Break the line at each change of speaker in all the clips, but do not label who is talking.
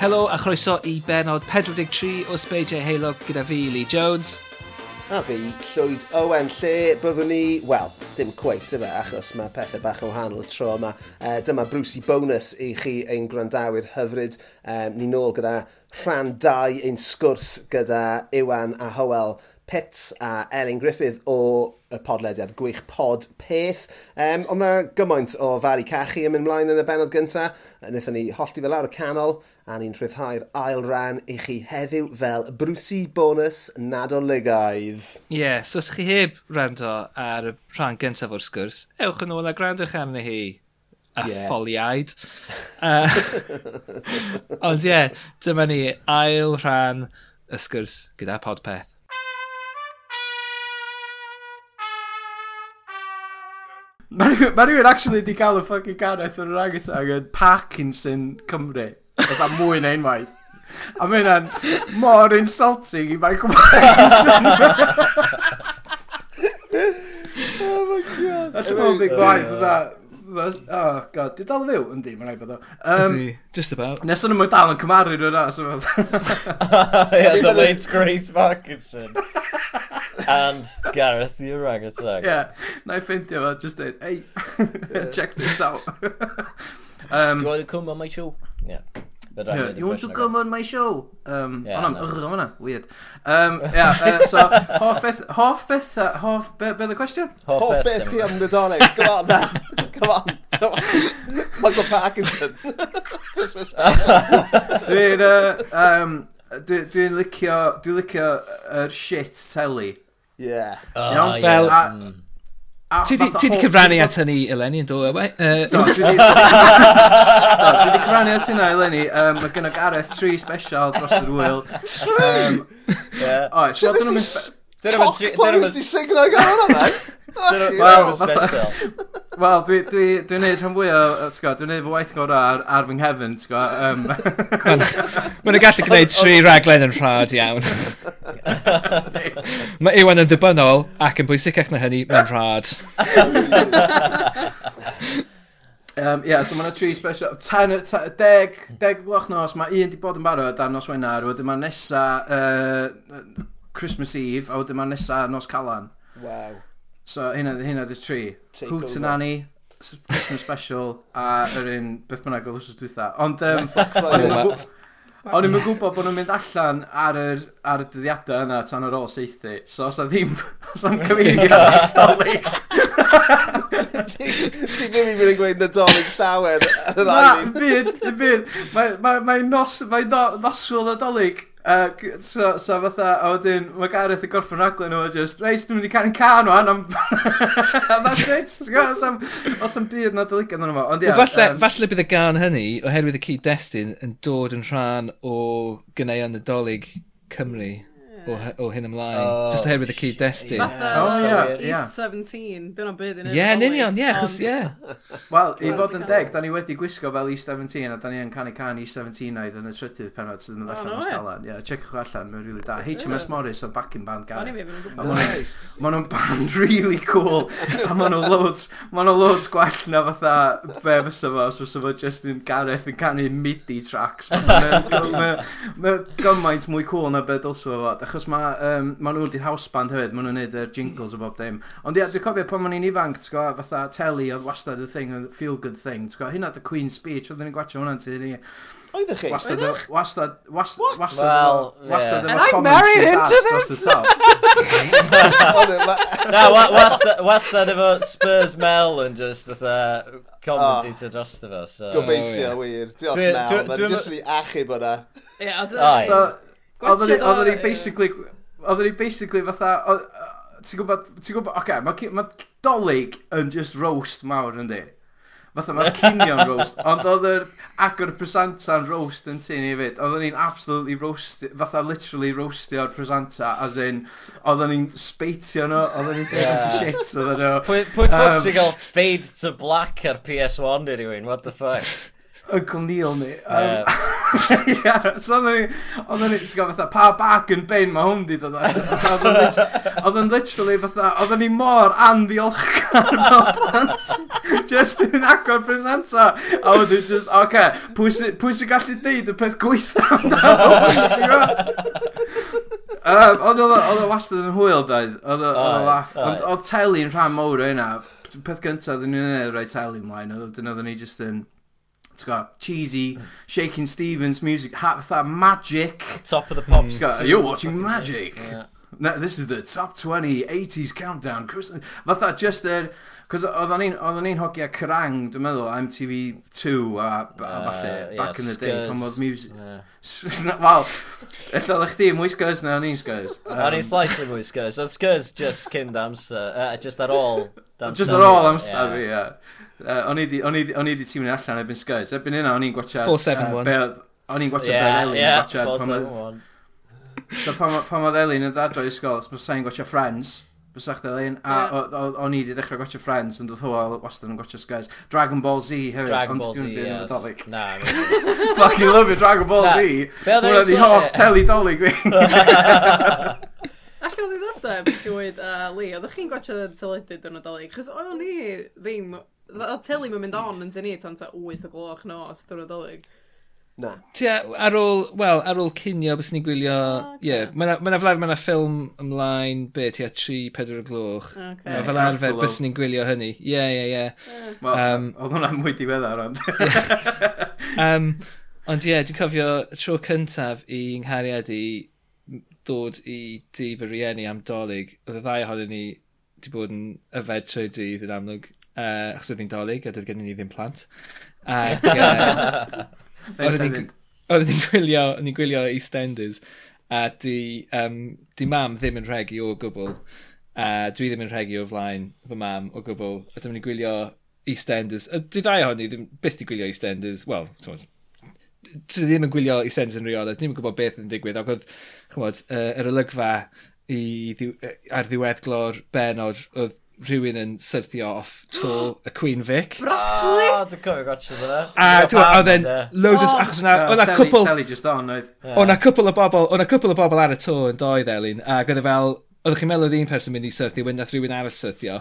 Helo a chroeso i benod 43 o Sbeidiau Heilog gyda fi, Lee Jones.
A fi, Llwyd Owen, lle byddwn ni, wel, dim cweit yma, achos mae pethau bach yn wahanol y tro yma. Uh, dyma Brucey Bonus i chi ein gwrandawyr hyfryd. Um, ni nôl gyda rhan 2 ein sgwrs gyda Iwan a Howell Pitts a Elin Griffith o y podlediad Gwych Pod Peth. Um, ond mae gymaint o fari cachu yn mynd mlaen yn y benod gyntaf. Nethon ni hollti fel lawr y canol a ni'n rhyddhau'r ail ran i chi heddiw fel Brucey Bonus Nadoligaidd.
Ie, yeah, so os chi heb rando ar y rhan gyntaf o'r sgwrs, ewch yn ôl a grandwch arni hi. A
Ie.
yeah. ffoliaid. Uh, ond ie, yeah, dyma ni ail rhan y sgwrs gyda podpeth.
Mae rhywun- mae rhywun actually di cael y ffucking canaeth o'r orangutan yn Parkinson Cymru. Fytha mwy na unwaith. A mae hynna'n mor insulting i Michael Parkinson. oh my god. That's one big gwaith. Fytha, fytha- oh god, di dal yn fyw? Yndi, mae'n rhaid bod o.
Um,
Um,
Just about.
Nes o'n ymwyd dal yn cymaru nhw'n as so fel-
yeah, the late Grace Parkinson. and Gareth the orangutan.
Yeah, na i ffeindio fo, just dweud, hey, check this out.
You want to come on my show? Yeah. But I
um, Yeah,
did a
you want to
question
come
about-
on my show? Um,
Yeah,
yeah, ond am
no.
yrr o'n hwnna, weird. Um, yeah, uh, so, hoff beth, hoff beth, uh, hoff, be, be the question?
Half
Hoff
past
beth
them.
ti am Nadolig. Come on, man. Come on. Come on. Michael Parkinson. Christmas special.
Dwi'n, uh, um, dwi- dwi'n licio, dwi'n licio yr shit teli.
Yeah.
Ah,
Iawn,
yeah.
fel-
A-
Mm.
a
Ti di,
fatha
ti di
hoff-
cyfrannu at hynny, Eleni, yn dod ewe?
Do,
Uh,
dwi di- Do, dwi di cyfrannu at hynna, Eleni. Um, mae gen o Gareth tri special dros yr wyl. Tri?
Yeah.
Oes, wel, dyn nhw'n mynd... spe-
Dyn nhw'n tri- dyn
Cockboys
nhw'n-
di siglo gan hwnna, man.
dyn nhw'n-
Wel,
dyn nhw'n
fatha-
special.
Wel, dwi'n dwi, dwi dwi'n neud rhan fwy o, yy, t'go, dwi'n neud fy waith gorau ar, ar fy nghefn, t'go. Um,
Mae'n gallu gwneud tri raglen yn rhad iawn. Mae Iwan yn ddibynnol ac yn bwysicach na hynny, mae'n rhad.
um, yeah, so mae yna tri special. Ten, ten, deg, deg o gloch nos, mae un di bod yn barod ar nos Wenar, wedyn mae nesa uh, Christmas Eve, a wedyn mae nesa nos Calan.
Wow.
So hynna, hynna di tri.
Take
Hwtanani, s- Christmas Special, a yr un beth bynnag oedd wrth dwytha. Ond, um,
Friday.
o'n i'm yn gw- o'n i'm yn gwybod bod nhw'n mynd allan ar yr, ar y dyddiadau yna tan ar ôl seithi. So os a ddim, os am cyfeiriad i stori.
Ti ti ddim yn mynd yn gweud Nadolig llawer yn yr
Na,
ailin.
byd, byd. Mae ma, ma nos, mae no, noswyl nadolig. Uh, so, so fatha, a wedyn, mae Gareth yn gorffen raglen nhw, a just, reis, dwi'n mynd i cael yn can o'n am... And that's it, ti'n gwybod, os am, os am byd nadolig yn nhw. Ond ia,
Falle,
yym,
falle bydd y gan hynny, oherwydd y cyd-destun, yn dod yn rhan o ganeuon Nadolig Cymru o, hy- o hyn ymlaen.
Oh,
Just oherwydd y cyd-destun. Ie,
Fatha,
Oh,
like,
yeah,
East
yeah.
17, dwi'n o'n byd yn
yeah, yn union, ie, chos, ie.
Wel, i
Wel,
fod yn
ti'n
deg,
gweld.
da ni wedi gwisgo fel E17 a da ni yn canu can E17 oed yn y trydydd penod sydd yn
O,
ddechrau
no
nos
way.
galan. Ie, checiwch o allan, mae'n rili da. HMS
Ie.
Morris o backing band
O'n i'n
Gareth.
mynd yn
A
gwybod.
ma' nhw'n- Ma' nhw'n band really cool a ma' nhw loads, ma' nhw loads gwell na fatha be fysa fo os fysa fo Justin Gareth yn canu midi tracks. Mae gymaint mwy cool na be dylse fo fod achos ma, um, ma' nhw di'r house band hefyd, ma' nhw'n neud yr jingles o bob dim. Ond ia, dwi'n cofio pan ma'n i'n ifanc, ti'n gwbod, fatha teli oedd wastad y thing, oedd feel good thing, ti'n gwbod, hynna the Queen's Speech, oedden ni'n gwachio hwnna'n tu ni.
Oeddech chi?
Wastad, y- wastad, wast-
What?
wastad,
Well,
efo- wastad, efo
yeah.
And I
comments
married
gyda
into
dust
this.
dros y top.
Ond ma-
Na, wa- wastad- wastad efo Spurs Mel yn just fatha
Ah.
commentator dros efo, so...
Gobeithio wir. Diolch
Dwi-
nawr.
dwi-
Mae'n
dwi'm-
jyst yn ei achub hwnna.
Ie, os
O, ie.
So, oedden ni-
Gwatsiad o-
oedden ni
ie.
basically, oedden ni basically fatha, o- o- ti'n gwybod, ti'n gwybod, oce, mae ci- mae dolyg yn just roast mawr yndi. Fatha mae'r cinion roast, ond oedd yr agor presanta'n roast yn tyn i fyd. Oedden ni'n absolutely roast, fatha literally roastio'r presanta, as in, oedden ni'n speitio nhw, oedden ni'n dweud yeah.
Yeah.
shit, oedden nhw.
Pwy pwy ffwc
Um,
sy'n gael fade to black ar PS1 i rywun, what the fuck?
Uncle Neil ni. Um,
Ie.
Ia, so oedden ni, oedden ni, ti'n gwybod, fatha, pa bag yn bin mae hwn di dod o. Fatha, oedden lit- Oedden literally, fatha, oedden ni mor andiolchgar fel plant. Just yn agor presenta. A oedden ni just, oce, okay, pwy sy- pwy sy'n gallu deud y peth gweitha amdano hwn, ti'n gwybod? Um, Ond oedd o- oedd o wastad yn hwyl, doedd. Oedd o oedd o
Oedd,
laff. Ond
oedd.
oedd teli'n rhan mowr o hynna. Peth gyntaf, oedden ni'n ei roi teli mlaen. Oedden oedden ni just yn... It's got
Mm.
cheesy, Shaking Stevens music, ha, fatha magic.
Top of the pops.
Ti'n gwbod,
Mm. super
You're watching
fucking
magic.
shit. Yeah.
No, this is the top 20 80s countdown. Christmas. Fatha just er, yr... Cos oedden ni'n oedden ni'n hogia Crang, dwi'n meddwl, MTV2 a, a
Uh,
falle,
yeah,
back in the day,
Scuzz.
pan oedd music...
Yeah.
Wel, illa oedd chdi mwy sgurs na o'n i'n Uh, sgurs.
O'n i'n slightly mwy Skurs. Oedd Skurs just cyn amser, uh, just ar ôl amser.
Just ar ôl amser fi, ie. Yy, O'n i 'di- o'n i 'di- o'n i di tîmio allan ebyn Sgys. Ebyn hynna, o'n i'n gwachad...
471.
yy, be- O'n i'n gwachad Ben
Yeah,
Elin.
yeah,
Yeah, yeah. Pan ma- pan oedd Elin yn dadro i sgol, os bys i'n gwachad Friends. Bys eich Elin. A
Ie.
o- o- o'n i di dechrau gwachad Friends, yn dod hwyl wastad yn gwachad Sgys. Dragon Ball Z hefyd.
Dragon
ond
Ball Z,
dwi'n byw yn y
yes.
Nadolig.
Na,
Fucking love you, Dragon Ball
Na.
Z.
Be oedd yr
Hwna di
un
hoff
sôn-
teli dolig fi.
Alla o ddiddordeb llwyd a uh, Lee, oeddech chi'n gwachio teledu dyn Nadolig? Chos o'n i ddim... O teli mae'n mynd on yn sy'n ni tan ta 8 o gloch nos dyn Nadolig.
Na.
Tia, ar ôl, wel, ar ôl cynio, bys ni'n gwylio...
O, ocê.
Ie, mae'n flaen, mae'n ffilm ymlaen, be, tia 3-4 o gloch.
Okay.
A
Ie,
fel arfer,
Garfield.
bys ni'n gwylio hynny. Ie, ie, ie.
Wel,
Yym.
Oedd hwnna'n mwy diweddar, ond...
Um, ond ie, dwi'n cofio y tro cyntaf i nghariad i m- dod i di fy rieni am dolyg. Oedd y ddau ohonyn ni wedi bod yn yfed trwy dydd yn amlwg. Uh, achos oedd ni'n dolyg, a doedd gen i ni ddim plant. Ac, uh, Oedden ni'n- oedden ni'n gwylio, oedden ni'n gwylio EastEnders a di, um, di mam ddim yn rhegu o gwbl a dwi ddim yn rhegu o flaen fy mam o gwbl a dyma ni'n gwylio EastEnders a di ddau ohoni ddim byth di gwylio EastEnders wel, t'mod dwi ddim yn gwylio EastEnders yn reola dwi ddim yn gwybod beth yn digwydd ac oedd chymod, uh, yr olygfa i, ddiw- yy, ar ddiweddglo'r benod oedd rhywun yn syrthio off to y Queen Vic
Ah.
Broccoli!
O, dwi'n cofio gotcha dyna.
a ti'n gwbod, oedd e'n loads o
O!
achos o'na o'na cwpl
Teli just on, oedd.
O'n a cwpl o bobl, o'n a cwpl o bobl ar y to yn doedd Elin, ac oedd e fel, oeddech chi'n meddwl oedd un person mynd i syrthio, wyn nath rhywun arall syrthio,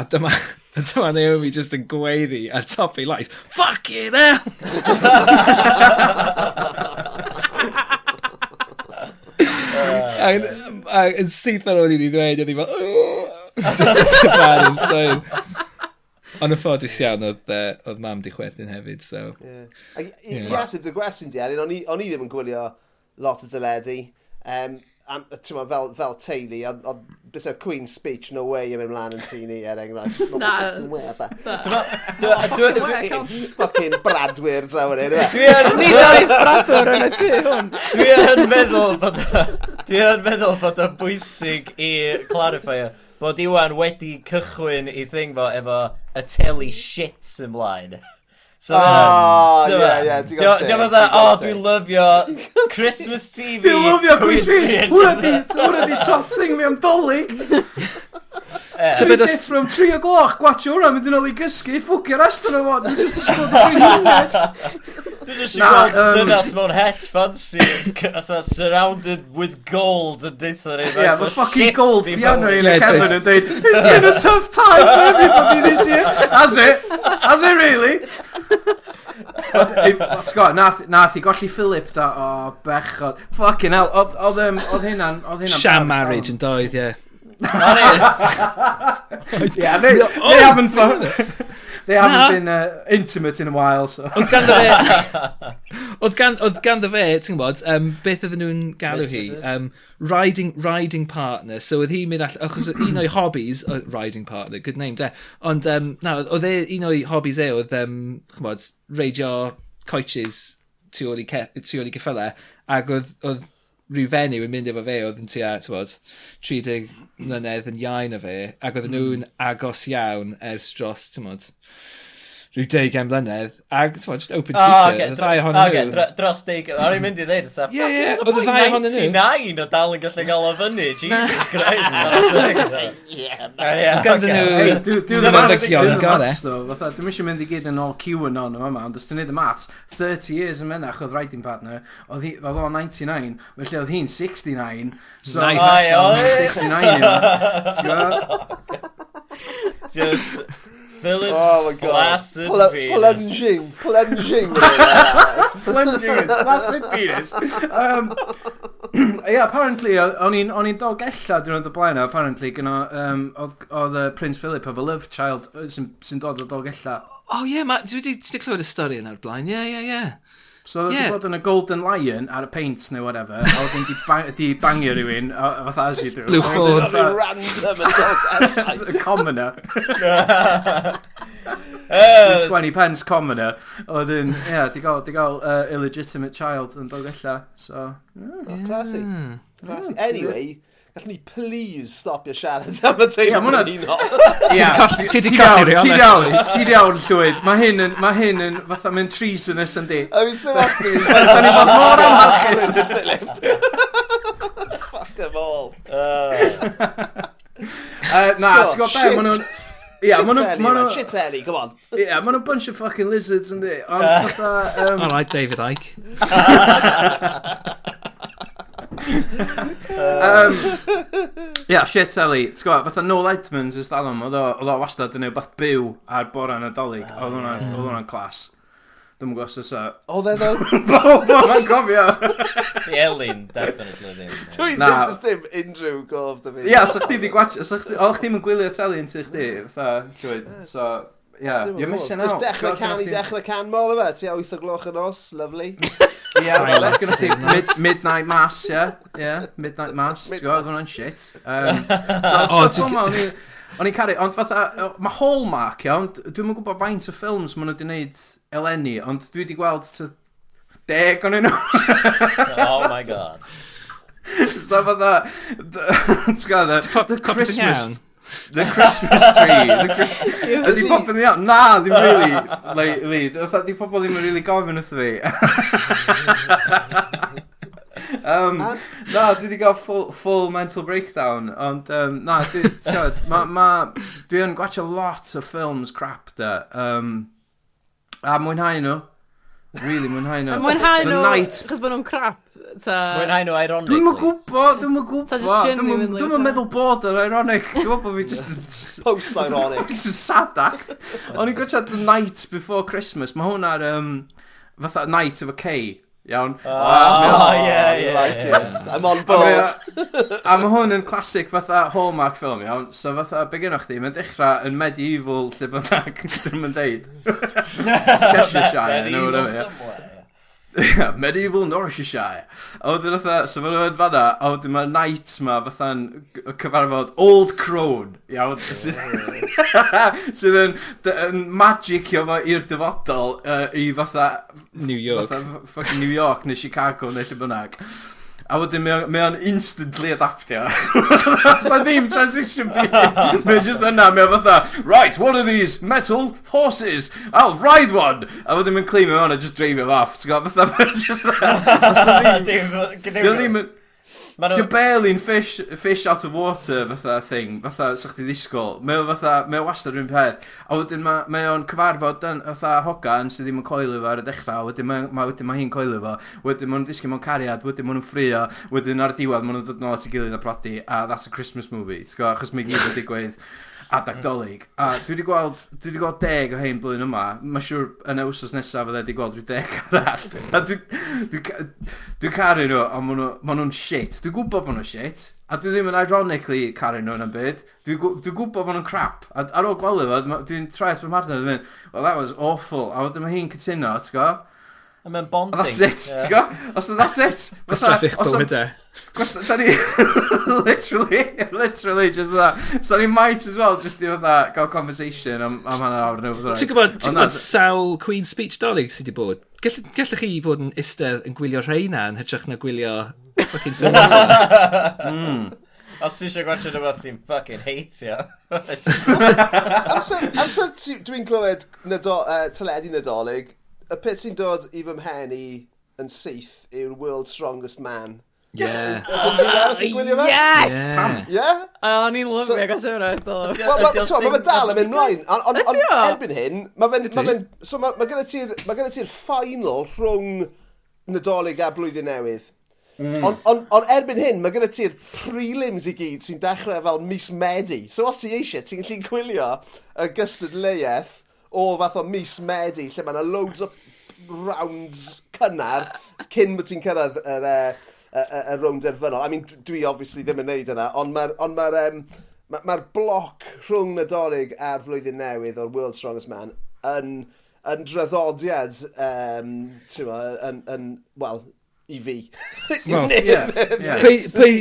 a dyma, a dyma Naomi just yn gweiddi ar top ei lais, fucking hell! Ac yn- ac yn syth ar ôl i ni ddweud, oedd hi fel, "Ugh!" just yn tyfan yn llyn. Ond yn ffodus iawn, oedd, yy, oedd mam di chwerthin hefyd, so...
Ie. Ac i- I i ateb dy gwestiwn di, Elin, o'n i- o'n i ddim yn gwylio lot o dyledu. Um, am, tyma, fel, fel teulu, ond- ond bys o'r Queen's Speech, no way yn mynd mlaen yn tu ni, er enghraifft. No
Na,
fucking way, fatha.
Fucking
Dwi
way.
Fucking- Fucking bradwyr draw yn e. hyn.
yn...
Ni does bradwr yn y tu hwn.
Dwi yn meddwl bod Dwi yn meddwl bod o'n bwysig i clarify o, bod Iwan wedi cychwyn i thing fo efo y teli shit ymlaen. So,
Ah,
Oh,
so,
ie, ie, ti'n gwbod
Dwi'n
teg,
meddwl,
ti'n
o,
gwbod
"Oh,
teg."
dwi'n lyfio Christmas TV.
Dwi'n lyfio Queen's Speech!
Queen's
Hwna di, hwna di top thing mi am dolyg!
Ie.
So
Dwi'n
be' dos-
death from 3 o gloch, gwatio hwnna, mynd yn ôl i gysgu, ffwcio'r aston o fod, dwi'n just ysgol dwi'n hwnes!
Dwi jyst
Na,
yn gweld
yym.
dynas mewn het fancy c- fatha surrounded with gold yn deitha ni
Ie, mae fucking gold piano i'n y
Ie,
cefn
dwi-
yn dweud, it's been a tough time for everybody this year! Has it? Has it really? Let's go, nath, nath i golli Philip da, o oh, bechod. Fucking hell, oedd oedd, yym, oedd hynna'n... oedd hynna'n
Sham
Paris
marriage
Town.
yn doedd, ie.
Yeah, they,
Oh,
they haven't fun. They
Na.
haven't been uh, intimate in a while, so.
Oedd ganddo fe... Oedd gan, oedd ganddo fe, ti'n gwybod, um, beth oedden nhw'n galw hi?
Mistresses.
Um, riding, riding partner. So oedd hi'n mynd all... Achos oedd un o'i hobbies... Oh, riding partner, good name, de. Ond, um, na, oedd- oedd e, un o'i hobbies e oedd, um, chymod, reidio coaches tu ôl i ce- tu ôl i geffylau. Ac oedd, oedd rhyw fenyw yn mynd efo fe oedd yn tua, ti'n bod, 30
Hmm.
mlynedd yn iawn o fe, ac oedd nhw'n agos iawn ers dros, ti'n bod, rhyw 10 blynedd, ac t'mod, just open
O,
secret,
Ah, oce,
y ddau
dro-
ohonyn
oce,
nhw.
dro- dros deg... O'n i'n mynd i ddeud, oedd
Ie, ie,
oedd
oedd y ddau ohonyn nhw.
99 o dal yn gallu gael o fyny, Jesus Christ. Ah, Ie,
Ganddyn nhw-
Ei, dwi
Dwi'n
dwi'n maths,
ymddygion,
dwi'n
got
maths ddo, fatha, dwi'n mysio mynd i gyd yn ôl QAnon yma yma, ond os ti'n neud y maths, 30 years yn menach oedd writing partner, oedd hi- oedd o'n 99, felly oedd hi'n 69, so...
Nice.
O, ie, o, ie.
69 yma, ti'n gwybod?
Just Phillips
Oh my god.
flaccid
Pl-
penis.
plunging, plunging.
Plunging his flaccid penis. Um, yeah, apparently, o- o'n i'n o'n i'n dod gella dwi'n y blaen, a apparently, gyno, um, oedd- oedd y Prince Philip of a love child yy, sy'n sy'n dod o dod gella.
O ie, ma- dwi wedi dwi 'di clywed y stori yna o'r blaen, ie, ie, ie.
So oedd
Yeah.
yeah. bod yn y Golden Lion ar y paint neu whatever, a oedd yn di, ba- di bangio rhywun, a- a fatha as you do.
Blue
A
Ford.
wedyn fatha-
Random attack.
a commoner,
Yy,
20 pence commoner, oedd yn, ie, yeah, di gael, di gael uh, illegitimate child yn dod gella, so...
Oh, classy. Classy. Anyway, gallwn ni please stop your siarad am y teimlo
Ie, ma' hwnna-
hwnna.
Ie,
colli- ti 'di
ti
colli
iawn,
rheolau.
ti iawn, ti iawn llwyd, mae hyn yn, mae hyn yn, fatha, mae'n treasonous yn di.
I mean, so absolutely.
Da ni fod mor amharchus.
Prince Philip. Fuck them all.
yy,
Uh, na,
So,
ti'n gwybod be,
shit.
maen nhw'n... Ie,
Shit
maen nhw'n-
Ellie,
maen
man,
nhw'n...
Shit Ellie, come on.
Ie, maen nhw'n bunch of fucking lizards yn di, ond fatha... um,
All right, David Icke.
Um, yeah, shit Ellie. T'w gwybod, fatha Noel Edmonds ys dal am, oedd o oedd o wastad yn ei beth byw ar bora yn adolyg.
Ah.
Oedd hwnna- oedd hwnna'n clas. Dwi'n gwybod os ysa.
Oh, there though.
Bob o'n gofio!
Elin, definitely ddim.
Dwi
Na.
ddim dim unrhyw gof dy fi.
Ia, so chdi di gwach... so chdi- Oedd chdi'n gwylio Telly yn tu chdi, fatha, dweud. So, ia,
Dim yn
you're
gwbod.
missing
Jyst
out.
dechrau canu, dechrau can mol yma. Ti a 8 o gloch yn os, lovely.
Ia,
Silent
oedd gynnu ti
Night.
mid- Midnight Mass, ia. Ia, Midnight Mass, ti'n gwybod, oedd hwnna'n shit. Um,
O,
So,
ti'n-
so ffilm 'ma, o'n i- o'n i'n caru, ond fatha, o- mae Hallmark, iawn, d- dwi'm yn gwybod faint o ffilms maen nhw wedi gwneud eleni, ond dwi wedi gweld t- deg o'n nhw.
Oh my god.
So fatha, d- ti'n gwybod,
Pop-
the, the
popeth yn
Christmas,
iawn.
the Christmas tree, the Christmas... Ydy
Ydi.
popeth yn iawn? Na, ddim really. Like, lead. Fatha, di pobl ddim yn really gofyn wrtho fi. um, na, dwi wedi cael full, full mental breakdown, ond um, na, dwi, ti'n gwbod, ma, ma, dwi yn gwachio lot o ffilms crap da, um, a mwynhau nhw, really mwynhau nhw.
Mwynhau nhw,
The Night
chos bod nhw'n crap, ta...
Mwynhau nhw ironically.
Dwi'm yn gwybod, dwi'm yn gwybod,
Ta just
dwi'm yn-
genuinely
dwi'm yn
fatha-
meddwl bod yn ironic, dwi'n meddwl bod fi just yn...
Post-ironic.
It's a sad act. O'n i'n gwachio The Night Before Christmas. Mae hwn ar, um, fatha Night of a K. Iawn.
Oh, yeah,
I
yeah,
like
yeah.
it. I'm on
A
board.
mae- a mae hwn yn classic fatha Hallmark ffilm, iawn. So fatha, be gynnwch chi, mae'n dechrau yn medieval lle bynnag, dwi'n mynd deud. Cheshire,
Very
neu
evil
whatever. ie.
somewhere.
Ie, medieval Norwichshire. A wedyn fatha, so maen nhw'n fanna, a wedyn mae'r knight ma fatha'n g- cyfarfod Old Crone, iawn, sydd sydd yn, d- yn magic o fo i'r dyfodol uh, i fatha,
New York.
fatha f- fucking New York neu Chicago neu lle bynnag. A wedyn mae o'n- mae o'n instantly adaptio. so ddim transition period. Mae o'n just yna, mae o'n fatha, right, what are these metal horses? I'll ride one! A wedyn mae'n clean mewn a just dreif him off. Ti'n gwybod, fatha, mae'n just yna.
Dim-
Dwi'n ddim yn...
Ma' nhw-
Dwi'n barely'n fish, fish out of water fatha thing, fatha sa'ch ti ddisgwyl. Mae o fatha, mae o wastad rhywun peth. A wedyn ma- mae o'n cyfarfod yn fatha hogan sydd ddim yn coelio fo ar y dechrau, a wedyn mae ma, wedyn ma hi'n coelio fo. Wedyn maen nhw'n disgyn mewn cariad, wedyn maen nhw'n ffrio, wedyn ar y diwedd maen nhw'n dod nôl at ei gilydd a prodi, a that's a Christmas movie, ti'n gwybod, achos mae gyd yn digwydd adag dolyg. A dwi wedi gweld, dwi wedi gweld deg o hein blwyddyn yma. Mae'n siŵr yn y wsos nesaf fydde wedi gweld rhyw deg arall. A dwi, dwi, ca- dwi caru nhw, ond maen nhw- maen nhw'n shit. Dwi'n gwybod bod nhw'n shit. A dwi ddim yn ironically caru nhw yn y byd. Dwi'n gw- dwi'n gwybod bod nhw'n crap. A d- ar ôl gweld efo, ma- dwi'n traeth fy marna yn mynd, well that was awful. A wedyn mae hi'n cytuno, ti'n go?
A Mae'n
A
bonding.
that's it,
ie.
ti'n go? Os na that's it. Os na-
Traffic
os na-
bywydau.
Gwrs, da ni, literally, literally, just that. So ni might as well just do that, gael conversation am, am hanner awr neu beth
Ti'n gwybod, ti'n
Ond na,
gwybod sawl Queen Speech Dolig sydd wedi bod? Gall- Gallech chi fod yn istedd yn gwylio rheina yn hytrach na gwylio fucking ffilms yma?
Os ti eisiau gwaethe rhywbeth ti'n fucking heitio.
Amser, amser ti- dwi'n glywed nado, uh, teledu nadolig, y peth sy'n dod i fy mhen i yn syth yw'r World's Strongest Man.
Yeah.
Os ydyn ti'n arall yn gwylio fe?
Yeah.
Yeah?
O'n i'n
So-
lyfio gael siwr oes dol.
Wel, ma- t'mo, ma' fe dal yn mynd mlaen. On- on- on-
Ydi o?
Erbyn hyn, mae fe'n... ma' fe'n- So mae ma gyda ti'r ma' gyda ti'r final rhwng Nadolig a Blwyddyn Newydd. Ond on, on erbyn hyn, mae gyda ti'r prelims i gyd sy'n dechrau fel mis Medi. So os ti eisiau, ti'n gallu gwylio y gystadleuaeth o fath o mis Medi, lle mae yna loads o rounds cynnar cyn bod ti'n cyrraedd yr, uh, y, y, y rownd erfynol. I mean, d- dwi obviously ddim yn neud yna, ond mae'r on ma um, ma, ma bloc rhwng Nadolig a'r flwyddyn newydd o'r World Strongest Man yn, yn draddodiad, um, ti'n mo, yn, yn, wel, i fi.
Wel,
Ie, ie.
Pwy, pwy,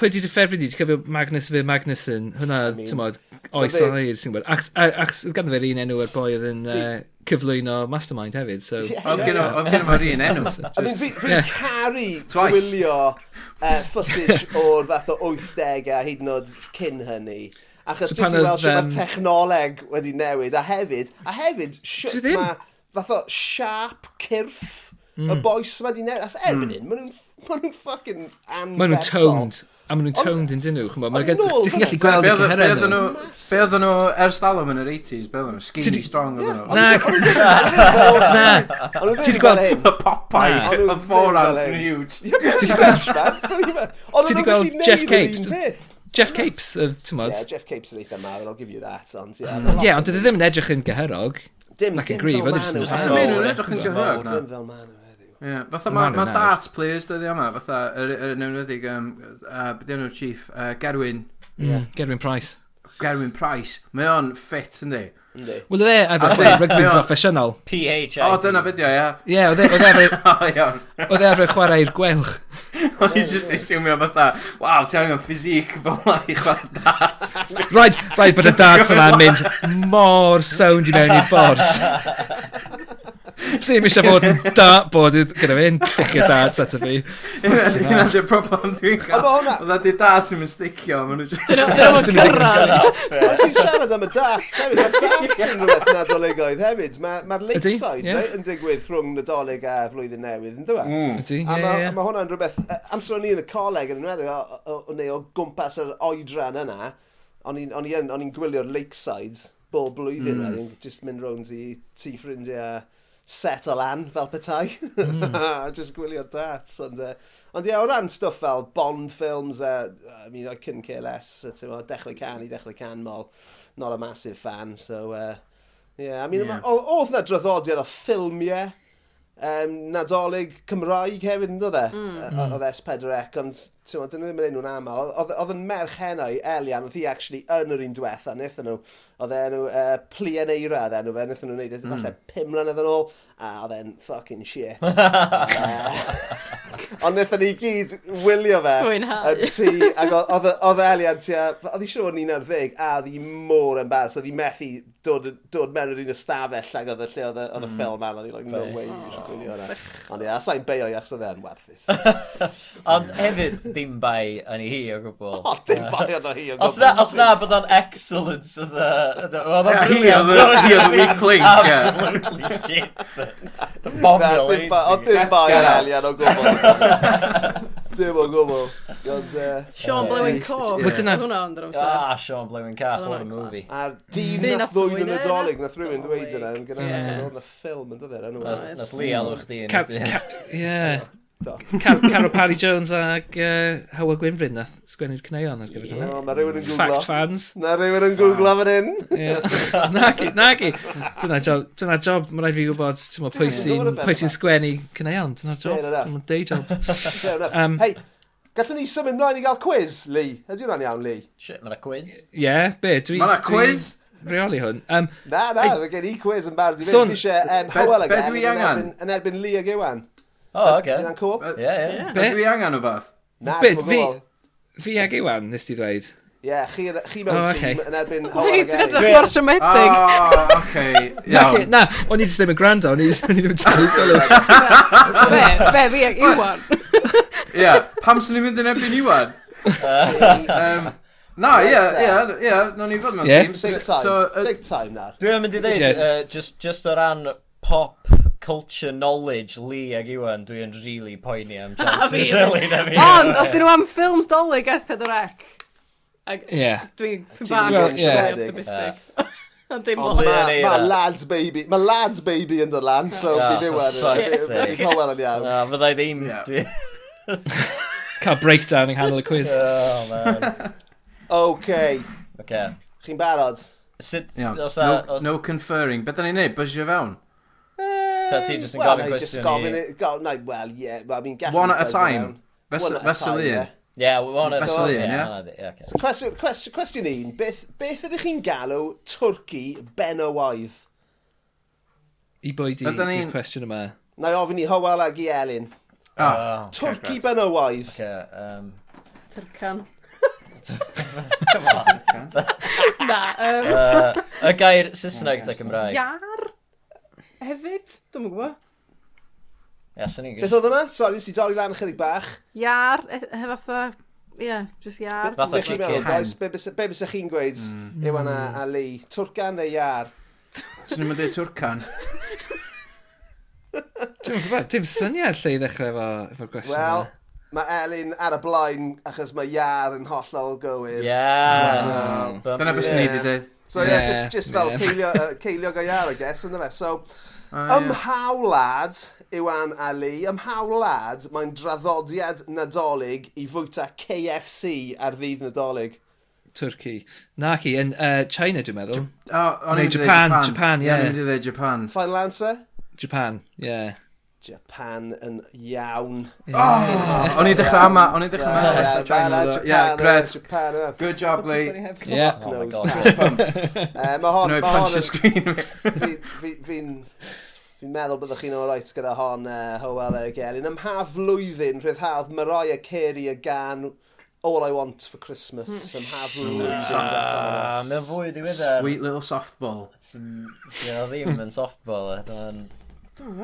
pwy di dy ffefryn i? Ti'n cofio Magnus fe Magnuson? Hwna, ti'n modd, oes
ma' fe-
o'n eir, ti'n gwybod. Ac, a- achos oedd ganddo fe'r un enw ar boi oedd yn uh, cyflwyno Mastermind hefyd, so...
Yeah.
Oedd gen o- oedd gen o'r un enw.
I mean, fi, fi
Yeah.
caru
Twice.
gwylio uh, footage o'r fath o 80au a hyd yn oed cyn hynny. Achos
So
so jyst
pan
i weld
oedd,
sy'n
yym,
ma'r technoleg wedi newid. A hefyd, a hefyd,
Dwi
siwt
ddim.
ma fath o sharp cyrff y boes ma wedi newid. As erbyn hyn, maen nhw'n ma nhw'n fucking anferthol.
Mae nhw'n toned. A maen nhw'n toned yn dyn nhw, chymod. Mae'n
Ond nôl
gallu gallu
hwnna,
gweld
Be
y
oedd- be
cyheren
oedden
nhw.
nhw, be oedden nhw ers dalwm yn yr 80s, be oedden nhw,
Ti
skinny
di-
strong oedden nhw.
Na, na.
Ond nhw
Ti
ddim
di
fel
gweld-
hyn.
Y Popeye,
O'n nhw
y
ddim
forearms
fel
yn
hyn.
huge.
Ti di gweld-
Gosh, man, pretty much. Ond
Ti
nhw
di
ddim gallu
gweld Jeff
neud yr
Capes?
un peth.
Jeff Capes, yy, ti'n modd.
Yeah, Jeff Capes yn eitha mawr, I'll give you that, ond yeah.
Ie, ond dydw i ddim yn edrych yn gyherog.
Dim,
Like a
dim
grief,
fel
oedd e jyst yn
Manu,
edrych
Os
Manu.
ydyn nhw'n
Mawr,
edrych yn
ie,
gyhyg na.
Dim fel Manu, heddiw.
Ie, fatha
Ma'
mae
nhw
ma
nawr.
darts players dyddi yma, fatha yr yr enwedig, um, uh, beth enw'r chief, uh, Gerwin,
Mm, Gerwyn Price.
Gerwin Price, mae o'n ffit yn di.
Yndi.
Wel, oedd e efo
A
chwarae
be-
rygbi
be oedd-
proffesiynol.
PHIT.
O, dyna beth yw, ia.
Ie, oedd e- oedd e efo-
O, iawn.
oedd e efo chwarae'r gwelch.
O'n i jyst asiwmio fatha, waw, ti angen ffisic fel ma i chwarae darts.
Rhaid, rhaid bod y darts yma'n mynd mor sound i mewn i'r bors. Sym eisiau fod yn dartboard i- gyda fi, yn llicio darts ato fi.
Hynna di'r problem dwi'n
Ond
cael.
ma' hwnna-
Oedd di darts yn mynd sticio, maen nhw jyst...
Just yn mynd-
Ond ti'n siarad am y darts hefyd, mae darts yn rhywbeth nadoligaidd hefyd. Mae'r ma
Ydi, ie.
lakeside
Mm.
yeah. right, yn digwydd rhwng nadolig a flwyddyn newydd, yn e? dweud?
Ydi,
A
ie,
mae
ie.
ma hwnna'n rhywbeth, yy, amser o'n i yn y coleg yn ymwneud o, o, o, neu o gwmpas yr oedran yna, o'n i'n- o'n i yn- o'n i'n gwylio'r lakeside bob blwyddyn mm. wedyn, just mynd rownd i tŷ ffrindiau set o lan fel petai. Mm. just gwylio'r darts. Ond, uh, ond ie, o ran stwff fel Bond films, uh, I mean, I couldn't care less, uh, ti'n gwbod, dechrau can i dechrau can mol, not a massive fan, so... Uh, yeah, I mean,
Yeah.
yeah. oedd na draddodiad o ffilmiau um, Nadolig Cymraeg hefyd yn dod e, Yy, oedd S4C, ond ti'n gwbod, dyn nhw ddim yn enw'n aml. Oedd- Oedd yn merch henoi, Elian, oedd hi actually yn yr un diwetha, nethon nhw, oedd enw uh, plien eira, oedd enw fe, nethon nhw wneud, mm. falle pum mlynedd yn ôl, a oedd e'n fucking shit. Yy, Ond nethon ni gyd wylio fe
Dwi'n hau.
yn tŷ, ac o- oedd- oedd Elian tua, oedd hi siŵr o'n 11, a oedd hi mor embarrassed, oedd hi methu dod, dod mewn yr un ystafell ag oedd y lle oedd y-
Mm.
oedd y ffilm arno, oedd hi like, no way, you should gwylio hwnna. Ond ie, a sa'n beio i achos oedd e e'n werthus.
Ond hefyd, dim bai yn ei hi o gwbl.
O, dim bai arno hi.
Os na, os na, bod o'n excellence of the... of the- Oedd
Ie,
o'n
he
brilliant.
oedd y- he oedd y weak link, ie.
Absolutely shit. Bombio
dim bai, o dim bai ar Elian o gwbl. Dim o gwbl. Ond, e, yy,
Sean Blewing Coff.
Wel, dyna-
Hwna ond yr amser.
Ah, Sean Blowing Calf,
Oedd
what a
hwnna'n
movie.
A'r dyn
Dyn
nath
nath
ddwyn
ddwyn
yn
y
nadolig, nath rhywun dweud
Nadolig.
yna, yn gynnar
Ie.
oedd y ffilm yn dod e, yn
Nath
ymwneud.
nath Lee alw chdi yn
Ca-
y dyn.
ca- Ie.
Do.
Car- Caro Parry Jones ag uh, Howell Gwynfryn nath sgwennu'r cneuon ar gyfer hynna.
Mae rhywun yn googlo.
Fact fans.
Na rhywun yn googlo fan hyn.
Ie. Nagi, nagi. Dyna job, dyna job, mae rhaid fi gwybod ti'n meddwl, pwy
Dwi'n
sy'n
gwbod y
pwy sy'n
beth.
sgwennu cneuon. Dyna job,
Fair enough.
dyna day job.
Fair enough.
Um,
Hei, gallwn ni symud mlaen i gael quiz, Lee? Ydy hwnna'n iawn, Lee?
Shit, mae'n a quiz.
Ie, be, dwi...
Mae'na
dwi'n
quiz?
Reoli hwn. Um,
Na, na,
Ei.
mae gen i quiz yn barod i fynd.
Son,
Fi eisiau um,
be-
Howell
be
again.
dwi
yn
angen?
erbyn- Yn erbyn Lee ag Iwan.
O, oce.
Ydy'n cool?
Ie, ie.
Be
Be?
dwi angen o beth?
Na,
Be,
dwi'n
fi-
gwybod.
fi ag Iwan, nes ti ddweud.
Ie, chi chi
O,
mewn
ocê.
tîm yn erbyn
Hei,
Howell
ti'n
again.
edrych mor
O,
siomedig.
oce,
Naci,
Ah, iawn.
na, o'n i just ddim yn gwrando, o'n i o'n i ddim yn talu sylw.
Be, be, fi ag Iwan.
Ie, pam sy'n ni'n mynd yn erbyn Iwan? Um, na, ie, ie, ie, no ni fod mewn
Ie.
Team
uh, Big
Six.
time.
So, yy,
Big time na.
Dwi'n mynd i ddeud,
Ie.
uh, just, just o ran pop culture knowledge Lee ag Iwan, dwi'n really poeni am chances early na fi.
Ond, os dyn nhw am ffilms dolyg S4C, ag
Ie.
dwi'n
Ti'n
bach
gweld,
yn
ie.
yeah. optimistic. Ond dim
Ond
ond.
Ie,
Mae
neu
ma
na.
lads baby, mae lads baby yn dod lan, so
Ah,
fi ddim
for fuck's
wedi.
sake.
Mae'n wel yn iawn.
Na, fydda i ddim.
Ie.
dwi-
Cael breakdown yng nghanol y quiz.
Oh, man.
OK,
Okay.
chi'n barod?
Sut,
iawn,
os a...
no-
uh,
os-
no conferring. Be da ni'n neud? Bysio fewn?
Ta ti jyst yn
Wel,
gofyn
na i jyst
cwestiwn
gofyn
i...
i- go- na, Wel, ie, I mean, gallu
One at a
buzzer
time.
mewn. One
Fes-
at a
Fesel
time,
un.
ie.
Yeah, we want to...
Bethlehem, yeah.
yeah.
Cwestiwn cwestiwn- cwestiwn un, beth, beth ydych chi'n galw twrci benoaidd?
I boi di,
Ydan ni'n-
di'r cwestiwn yma.
Na i ofyn i Howell ag i Elin.
Ah,
Twrci benoaidd.
Okay, um...
Tyrcan.
Come on.
Na, yym,
Uh, Y gair Saesneg
Oh,
ta Cymraeg.
iar? Hefyd? Dwi'n gwybod.
Ie, sy'n ni'n
Beth
gwybod.
oedd yna? Sori, si dorri lan chydig bach.
Iar, e- e- fatha, ie, jyst iar.
Fatha
Be chi'n
chicken.
meddwl, boys? Be bysa be bysa chi'n gweud, Iwan a a Lee? Twrcan neu iar?
Swn i'n mynd i Twrcan.
Dwi'n gwybod, dim syniad lle i ddechrau efo, efo'r gwestiwn
Wel,
yma.
mae Elin ar y blaen achos mae iar yn hollol gywir.
Yes.
Wow.
Dyna beth sy'n ni
Ie.
di dweud.
So
Ie,
yeah, just, just fel
ie.
ceilio, uh, ceilio go iar, I guess, ynddo fe. So,
Ah,
ymhaw lad, Iwan a Lee, ymhaw lad, mae'n draddodiad nadolig i fwyta KFC ar ddydd nadolig.
Twrci. Naci, yn uh, China dwi'n meddwl.
O, o'n
Neu
i'n mynd i ddeud
Japan,
Japan.
Japan,
Ie, o'n
ie.
i'n mynd i ddeud Japan.
Final answer?
Japan, ie. Yeah.
Japan yn iawn.
Oh, O'n i'n dechrau ama, o'n i'n dechrau ama.
Yeah,
fatha China,
Japan,
though. Yeah,
Japan,
great.
Japan, uh,
Good job, Lee.
Ie. Yeah.
Oh my
knows
god.
Uh, mae hon,
No,
mae
punch
hon
the
yn...
screen.
Fi'n fi, fi fi'n meddwl byddwch chi'n orait gyda hon, uh, Howell a Gelin. Ym mha flwyddyn rhyddhaodd Mariah Carey y gan All I Want for Christmas. Ym mha
Ah,
flwyddyn.
Mae'n fwy
um,
diweddar.
Sweet little softball.
Ti'n- Ie, o ddim yn softball. e, Dyna'n...
Dwi'n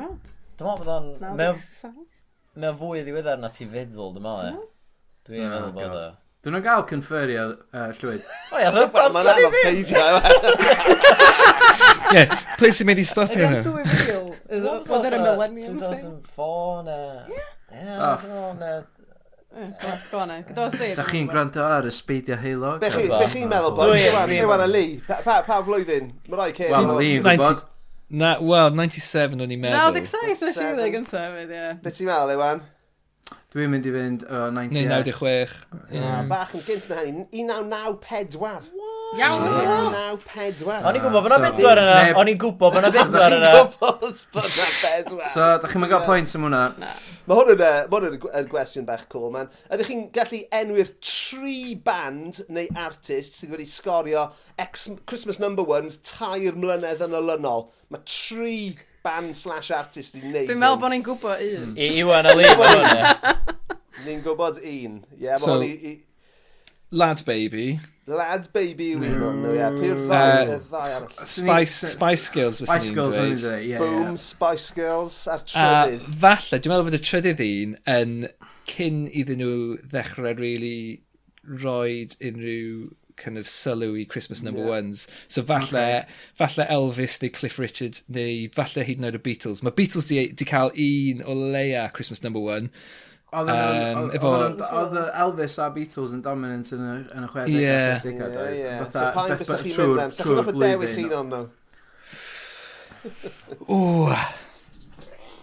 gwybod.
Dwi'n meddwl bod o'n...
Nawdeg
Mae'n
saith.
Mae'n fwy ddiweddar na ti feddwl, dyma e. Dwi'n
Oh,
meddwl bod o.
God. Dyn nhw'n gael conferio uh, llwyd.
O ia, fe
Wel, mae'n anodd peidio.
Ie, pwy sy'n mynd i stopio
Dwi'n
nhw?
gwybod. Dwi'n gwybod. Dwi'n gwybod. Dwi'n gwybod.
2004 na... Ie,
Oh.
dwi'n meddwl na...
Go na, gyda's di.
Da chi'n gwrando ar y speidio heilog?
Be chi-
Wel,
be chi'n meddwl, boys?
Dwi-
Iwan,
dwi'n-
Iwan a Lee, pa- pa pa flwyddyn? Mariah Carey.
Wel, Lee'n gwybod.
Na, wel, 97 o'n i'n meddwl.
97 nes i
Seven.
ddeg yn sefyd, ie.
Be ti'n meddwl, Iwan?
Dwi'n mynd i fynd o
Neu
98.
96.
Hmm.
A Bach yn gynt na hynny. 1994.
Iawn!
1994.
O'n i'n gwybod bod na
So-
bedwar yna.
Neb-
O'n i'n gwybod bod na bedwar
Ti'n
yna.
gwybod bod na bedwar.
So, da chi'n mynd gael pwynt am hwnna?
Mae hwn yn, yy, ma' hwn yn y- yn gwestiwn bach cool, man. Ydych chi'n gallu enwi'r tri band neu artist sydd wedi sgorio ex Christmas number ones tair mlynedd yn olynol? Mae tri band slash artist wedi wneud
Dwi'n meddwl bod ni'n gwybod un.
I Iwan a Lee, mae hwn e.
Ni'n gwybod un. Ie,
So-
so... i, i,
Lad Baby.
Lad baby yw un o'n nhw, ie. Pwy'r
Yy,
ddau, y ddau arall.
Spice, Spice Girls fes
Spice
ni'n
Girls yn
dweud.
dweud. Ie,
Boom,
ie.
Spice Girls a'r
A
trydydd.
falle, dwi'n meddwl bod y trydydd un yn cyn iddyn nhw ddechrau really roed unrhyw kind of sylw i Christmas number ones. So falle, falle Elvis neu Cliff Richard neu falle hyd yn oed y Beatles. Mae Beatles di, di cael un o leia Christmas number one.
Oedd
Yym,
yn- oedd-
efo-
oedd yn- oedd y Elvis a Beatles yn dominant yn y yn y 60au.
Ie.
Ie, ie. So pa'n bys chi'n mynd am? Sa chi'n gofod dewis un
Ie,
o'n nhw?
O!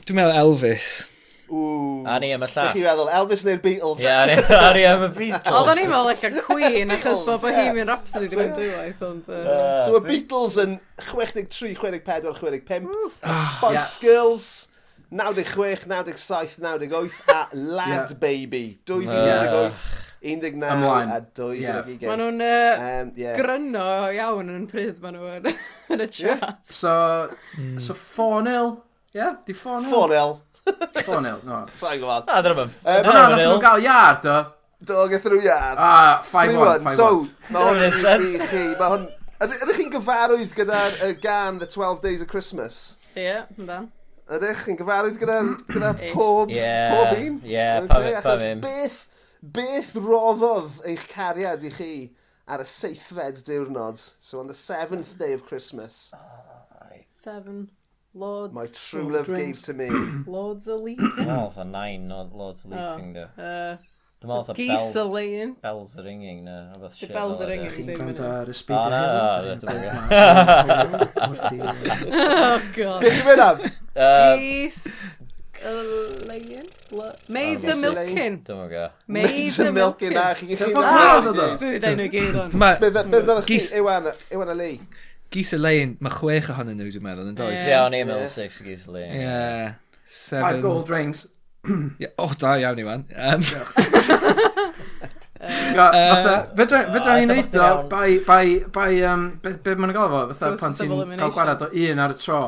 Dwi'n meddwl Elvis.
Ww.
A ni am y
Ydych
llall.
chi'n
Ie,
meddwl Elvis neu'r Beatles?
a ni- a ni am y
Oedd o'n
Beatles.
i'n meddwl like a Queen, achos bod
Beatles, ie.
Bohemian Rhapsody wedi mynd dwywaith, ond... yy,
So y Beatles yn 63, 64, 65, y Spice Girls 96, 97, 98 a Lad
Ie.
Baby 2018,
Ie.
19
Ymlaen.
a
Ma'
2020.
nhw'n yy,
Um, yeah.
gryno iawn yn pryd ma' nhw yn yn y chat.
So,
Hmm.
so 4-0. Ie, di 4-0.
4L,
4-0, no.
sa'n gwybod.
A dyna mae'n...
No, no, nath nhw gael iard, do.
Dog y thrwy ar.
Ah, 5-1,
3-1, so,
5-1.
mae hwn i
That makes
i
sense.
chi, mae hwn... Yd- Ydych chi'n gyfarwydd gyda'r yy, gan The 12 Days of Christmas?
Ie, yndan.
Ydych chi'n gyfarwydd gyda, gyda
Ie.
pob,
Ie,
pob un?
ie,
Oce,
pa- pa
achos
ddim.
beth Beth roddodd eich cariad i chi ar y seithfed diwrnod? So on the seventh day of Christmas,
Seven. Lords.
my true love gave to me.
Lords of Leaping.
Dwi'n meddwl oedd nine o Lords of Leaping, do.
uh,
Dwi'n meddwl oedd
geese are
bells,
laying.
bells are ringing, no. Rhywbeth
The
shit
bells
fel
are
yna.
ringing. Dwi'n
Gwrando
mynd.
ar y
O,
speed
na,
hefyd.
na, dwi'n meddwl.
Wrth i-
Oh, God.
Beth yw'n am?
Yy,
Geese are laying. Lo- Maids
Geese
are
are
milking.
Dwi'n meddwl.
Maids are milking.
na, chi chi
gweld
na.
oedd o?
Dwi'n dweud nhw i gyd ond.
Mae
Beth yw'n chi,
Geese-
Iwan, Iwan a Lee?
Geese a Leyen, mae chwech ohonyn nhw dwi'n meddwl, yn does?
Ie.
Ie, o'n i'n meddwl six geese laying.
Yeah. Seven.
Five gold rings.
Ie, O, da iawn i wan. Um,
Ti'n gwbod, fatha, fedra fedra
Ah,
i
ella
wneud
bo' chdi'n
o
iawn.
by, by, by, um, be, be ma'n gael fo, fatha
Process
pan
of
ti'n
elimination.
cael gwarad o un ar y tro.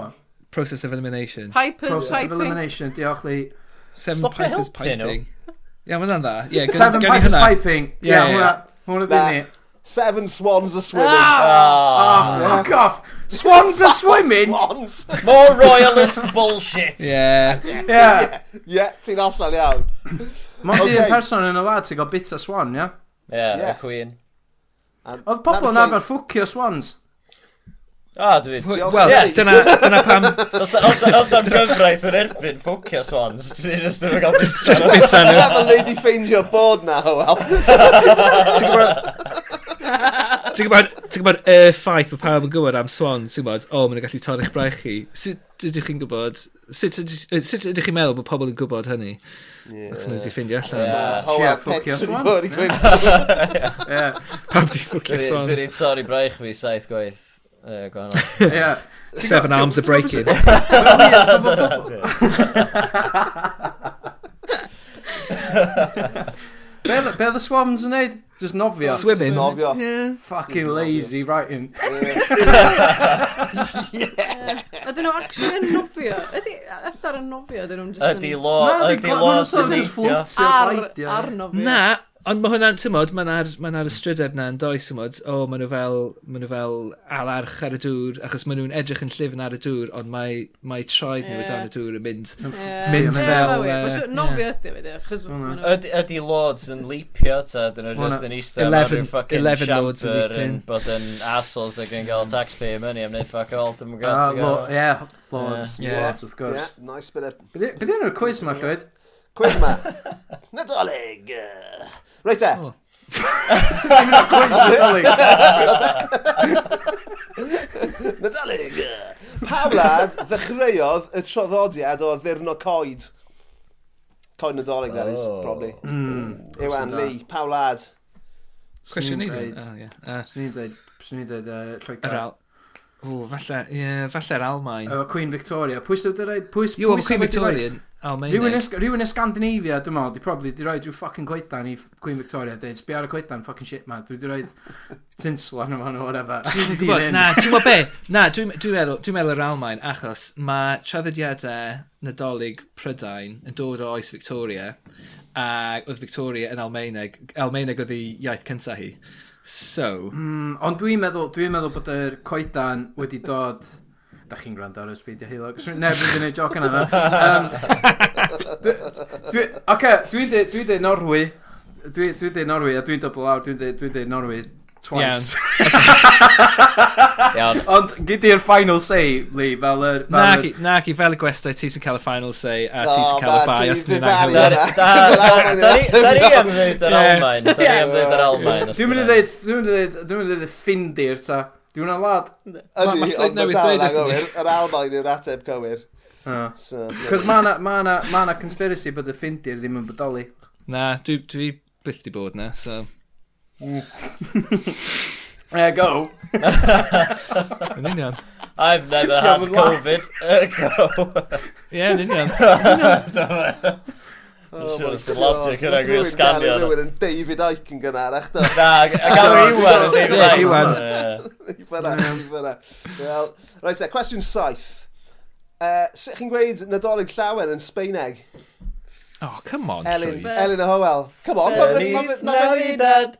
process of elimination.
Pipers
Process of
piping.
elimination, diolch li.
Seven
Stop it
pipers
helping nhw.
piping. Ie, mae hwnna'n dda. Ie, gawn-
Seven
gawn ni
pipers
hwnna.
piping.
Ie,
Yeah,
ie.
hwnna, hwnna di
Na.
ni.
Seven swans are swimming.
Ah,
Oh, fuck off. Swans are swimming.
Swans!
More royalist bullshit!
Ie.
Yeah.
Ie, ti'n allan iawn.
Mond
Okay.
un person yn y wlad sy'n gael bit o swan, ia.
Yeah,
Yeah.
y Queen.
Oedd pobl yn arfer ffwcio swans.
Ah, dwi'n...
Diolch.
Wel,
Ie.
dyna, dyna pam
Os os- os am gyfraith yn erbyn ffwcio swans, ti'n just ddim yn cael
just bita nhw.
Have a lady find your board now, well.
Ti'n gwybod... Ti'n gwybod... Ti'n gwybod y ffaith mae pawb yn gwybod am swans, ti'n gwybod, o, maen nhw'n gallu torri'ch braich chi. Sut ydych chi'n gwybod... Sut ydych yy, sut ydych chi'n meddwl bod pobl yn gwybod hynny? Os maen nhw wedi ffeindio allan.
gyfraith.
Oh,
Shit,
well,
fuck
pets
yes,
wedi
man.
bod i gwyn.
Yeah.
Pawb di ffwcio
Dwi'n
swans.
ni'n torri braich fi saith gwaith. Yy, gwahanol.
Yeah.
Seven arms are breaking.
Be oedd- be oedd y swans yn neud? Just nofio.
Swimming.
Nofio.
Yeah.
Fucking lazy writing.
Ydyn nhw actually yn nofio? Ydy, adar yn nofio, ydyn nhw'n just
Ydi
yn...
lo, ydi lo sy'n teithio.
Ar, ar nofio.
Na, ond mae hwnna'n, ti'n modd, mae'n ar, ma 'na'r ystrydeb na yn does, ti'n modd, o, maen nhw fel, maen nhw fel alarch ar y dŵr, achos maen nhw'n edrych yn llifn ar y dŵr, ond mae, mae traed nhw
Ie.
o dan y dŵr yn mynd.
Mynd
Mynd fel,
fel...
yy,
Nofio ydy fe, chos ma' nhw-
Yd- Ydi lords yn leapio, ta, dyn nhw just yn eistedd mewn
11
rhyw fucking
11 lords yn
shamter yn
leaping.
bod yn assholes ac yn gael taxpayer money am wneud fuck all, dim yn
Ah,
gael ti'n gael.
Ah, Yeah, lords,
Yeah.
lords wrth
Yeah,
gwrs.
nice bit of
Be di enw'r quiz ma, Llywyd?
Quiz ma. Nadolig. yy. Reit e.
O.
Quiz Nadolig.
Nadolig. yy. Pa wlad ddechreuodd y troddodiad o ddirnod coed? Coed Nadolig, that is,
Oh.
probably.
Mm.
Iwan, Lee, pa wlad?
Cwestiwn ni, dwi'n?
deud-
O, ie. Yy,
Swn i'n dweud, swn i'n uh, dweud
Yr
Lloegr.
al... O, falle, ie, falle'r Almain.
Efo Oh, Queen Victoria. Pwy sydd wedi rhaid? Pwy sydd
Iw, am
wedi
Queen
rhaid?
Victorian, Almain.
Rhywun is- rhywun yn Scandinavia, dwi'n meddwl, di probably di roed rhyw ffocin coedan i Queen Victoria, dweud, sbi ar y coedan, ffocin shit ma, dwi di roed tinsel arno fan o whatever. Dwi di
Wel,
hyn.
Na, ti'n gwybod be? Na, dwi'n dwi meddwl, dwi meddwl yr Almain, achos mae traddodiadau nadolig Prydain yn dod o oes Victoria, a oedd Victoria yn Almaeneg, Almaeneg oedd ei iaith cyntaf hi. So,
Mm, Ond dwi'n meddwl, dwi'n meddwl bod yr coedan wedi dod... Da chi'n gwrando ar y speedio heilog. Neb yn gwneud joc yna. na. Um, dwi, dwi, Oce, dwi'n dweud dwi dweud Norwy. Dwi'n dwi dweud Norwy a dwi'n double out. Dwi'n dweud dwi dweud Norwy twice.
Iawn.
Ond gyd i'r final say, Lee, fel yr...
na
fel yr-
gi, na gi, fel y gwestai, ti sy'n cael y final say, a ti
Oh,
sy'n cael y
man,
bai,
ti
os ni'n
ddifaru
anghywir.
ar-
Da- da- Da ni da ni am ddeud yr
Ie.
Almain. Da ni am ddeud yr Almain. os
Dwi'n mynd i
ti'n
dweud... Dwi'n mynd i dweud... Dwi'n mynd i dweud Ffindir, ta. Dwi'n mynd lad.
Ma- ma'
Ydy, ond mae
Lloyd
dal
newydd dweud wrthon ni.
yn gywir. Yr Almain yw'r ateb cywir.
Ah.
So,
Cos ma' na- ma' na ma' na conspiracy bod y Ffindir ddim yn bodoli.
Na, dwi, dwi byth di bod na, so...
There you go.
Yn union.
I've never had
Iawn, laugh.
Covid. Yy, go.
Ie, yn union.
Oh
siŵr
my
os 'di
God,
logic
ma'
hynna'n gwir
rhywun gael
scanio nhw.
Rhywun yn David Icke yn gynharach, do.
Na, g- a gael
Iawn,
Iwan yn
Ie,
deud
Iwan.
Ie.
I fyna, i fyna. Wel, reit e, cwestiwn saith. Uh, Sut chi'n gweud nadolig llawer yn Sbeineg?
Oh, come on,
Elin,
Llywyd.
Elin a Howell. Come on, ma' fe- ma' fe-
Feliz Navidad.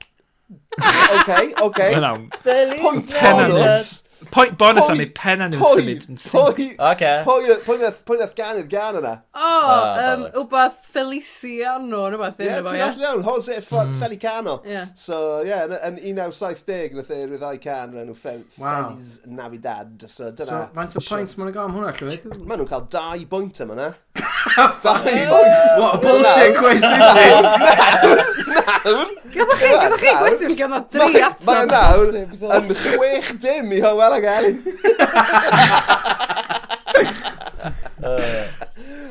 OK, OK.
Wel, nawn.
Feliz
Pwynt
Navidad.
bonus.
Point bonus am
Pwy-
ei pen yn
pwy-
symud yn symud.
Pwy...
Oce.
Pwy oedd- pwy nath- pwy nath ganu'r gan yna?
O, yym,
Ah, bollocks.
wbath Feliciano, neu beth,
Ie,
ddim efo,
ti'n
ie.
all iawn, Jose Fe-
Mm.
Felicano.
Ie.
So, ie, yn yn 1970 nath ei ryddau can yn enw Fel-
Wow.
Feliz Navidad. So,
So,
dyna...
faint o pwynt maen nhw'n gael am hwnna, llywyd?
Maen nhw'n cael dau bwynt yma na. Dau bwynt!
What a bullshit quiz this is!
Gadda chi, gadda chi
Nawr-
gwestiwn lle
Mae-
oedd dri atab.
Mae nawr yn chwech dim i Hywel ag Elin.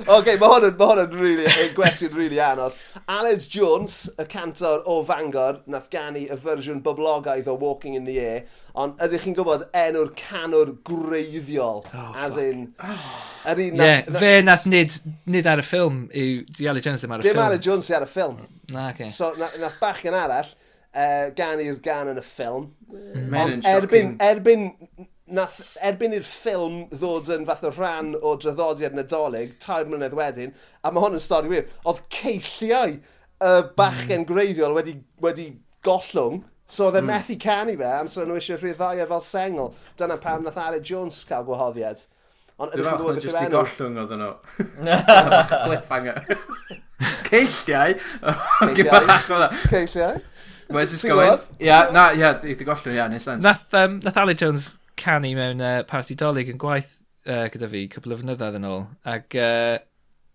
Oce, mae hwn yn, ma hwn yn really, yn gwestiwn really anodd. Aled Jones, y cantor o Fangor, nath gannu y fersiwn boblogaidd o Walking in the Air, ond ydych chi'n gwybod enw'r canwr greiddiol? Oh, as in... yr un
Ie,
nath-
fe nath nid, nid ar y ffilm yw Diali Jones ddim ar y
Dim
ffilm.
Aled Jones sy ar y ffilm.
Na, okay.
So, na- nath bachgen arall uh, ganu'r gan yn y ffilm.
Mae'n
Ond erbyn, erbyn, nath, erbyn i'r ffilm ddod yn fath o rhan o draddodiad nadolig, tair mlynedd wedyn, a mae hwn yn stori wir, oedd ceilliau y bachgen greiddiol wedi, wedi gollwng, so oedd e
Hmm.
methu canu fe, amser nhw eisiau rhyddau e fel sengl. Dyna pam nath Aled Jones cael gwahoddiad. Ond
Dwi'n
ydych chi'n gwybod beth
fawr na
yw
jyst i
enw?
gollwng oedd nhw. Cliffhanger. Ceilliau? Ceilliau?
Ceilliau?
Where's this
Ti'n
going?
gwbod?
Ia, na, ia, i di gollwng, ia, neud sens.
Nath, um, nath Ali Jones canu mewn uh, party dolyg yn gwaith uh, gyda fi cwpl o fynyddoedd yn ôl. Ac uh,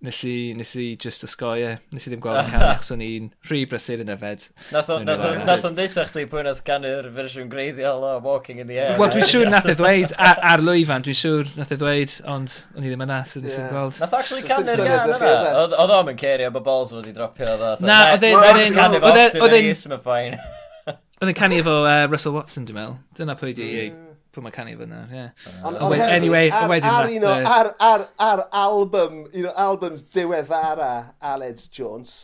nes, i, nes i just ysgoi e. Nes i ddim gweld yn canu achos o'n i'n rhy brysur yn yfed.
Nath o-
Yn
nath o-
ddiddorol.
nath o'n deitha chdi pwy nath ganu'r fersiwn greiddiol o Walking in the Air.
Wel, dwi'n siŵr nath e ddweud, ar, ar lwyfan, dwi'n siŵr nath e ddweud, ond o'n i ddim yna, so nes
Ie.
i'n gweld.
Nath o actually
So-
canu'r
so- so-
gan
so-
yna.
so-
Oedd- Oedd o'm yn cerio bobl sydd wedi dropio oedd o. fatha,
Na,
"Na,
oedd e'n-
na,
oedd
jyst
e'n-
canu fo,
oedd e'n-
dim yn
oedd e'n-
is, mae'n fine.
Oedd e'n canu efo uh, Russell Watson, dwi'n meddwl. Dyna pwy di, pwy mae canu efo nawr, ie.
On,
ond hefyd, anyway, a wedyn
ar,
nath
un o-
y-
ar, ar, ar album, un o albums diweddara Aled Jones,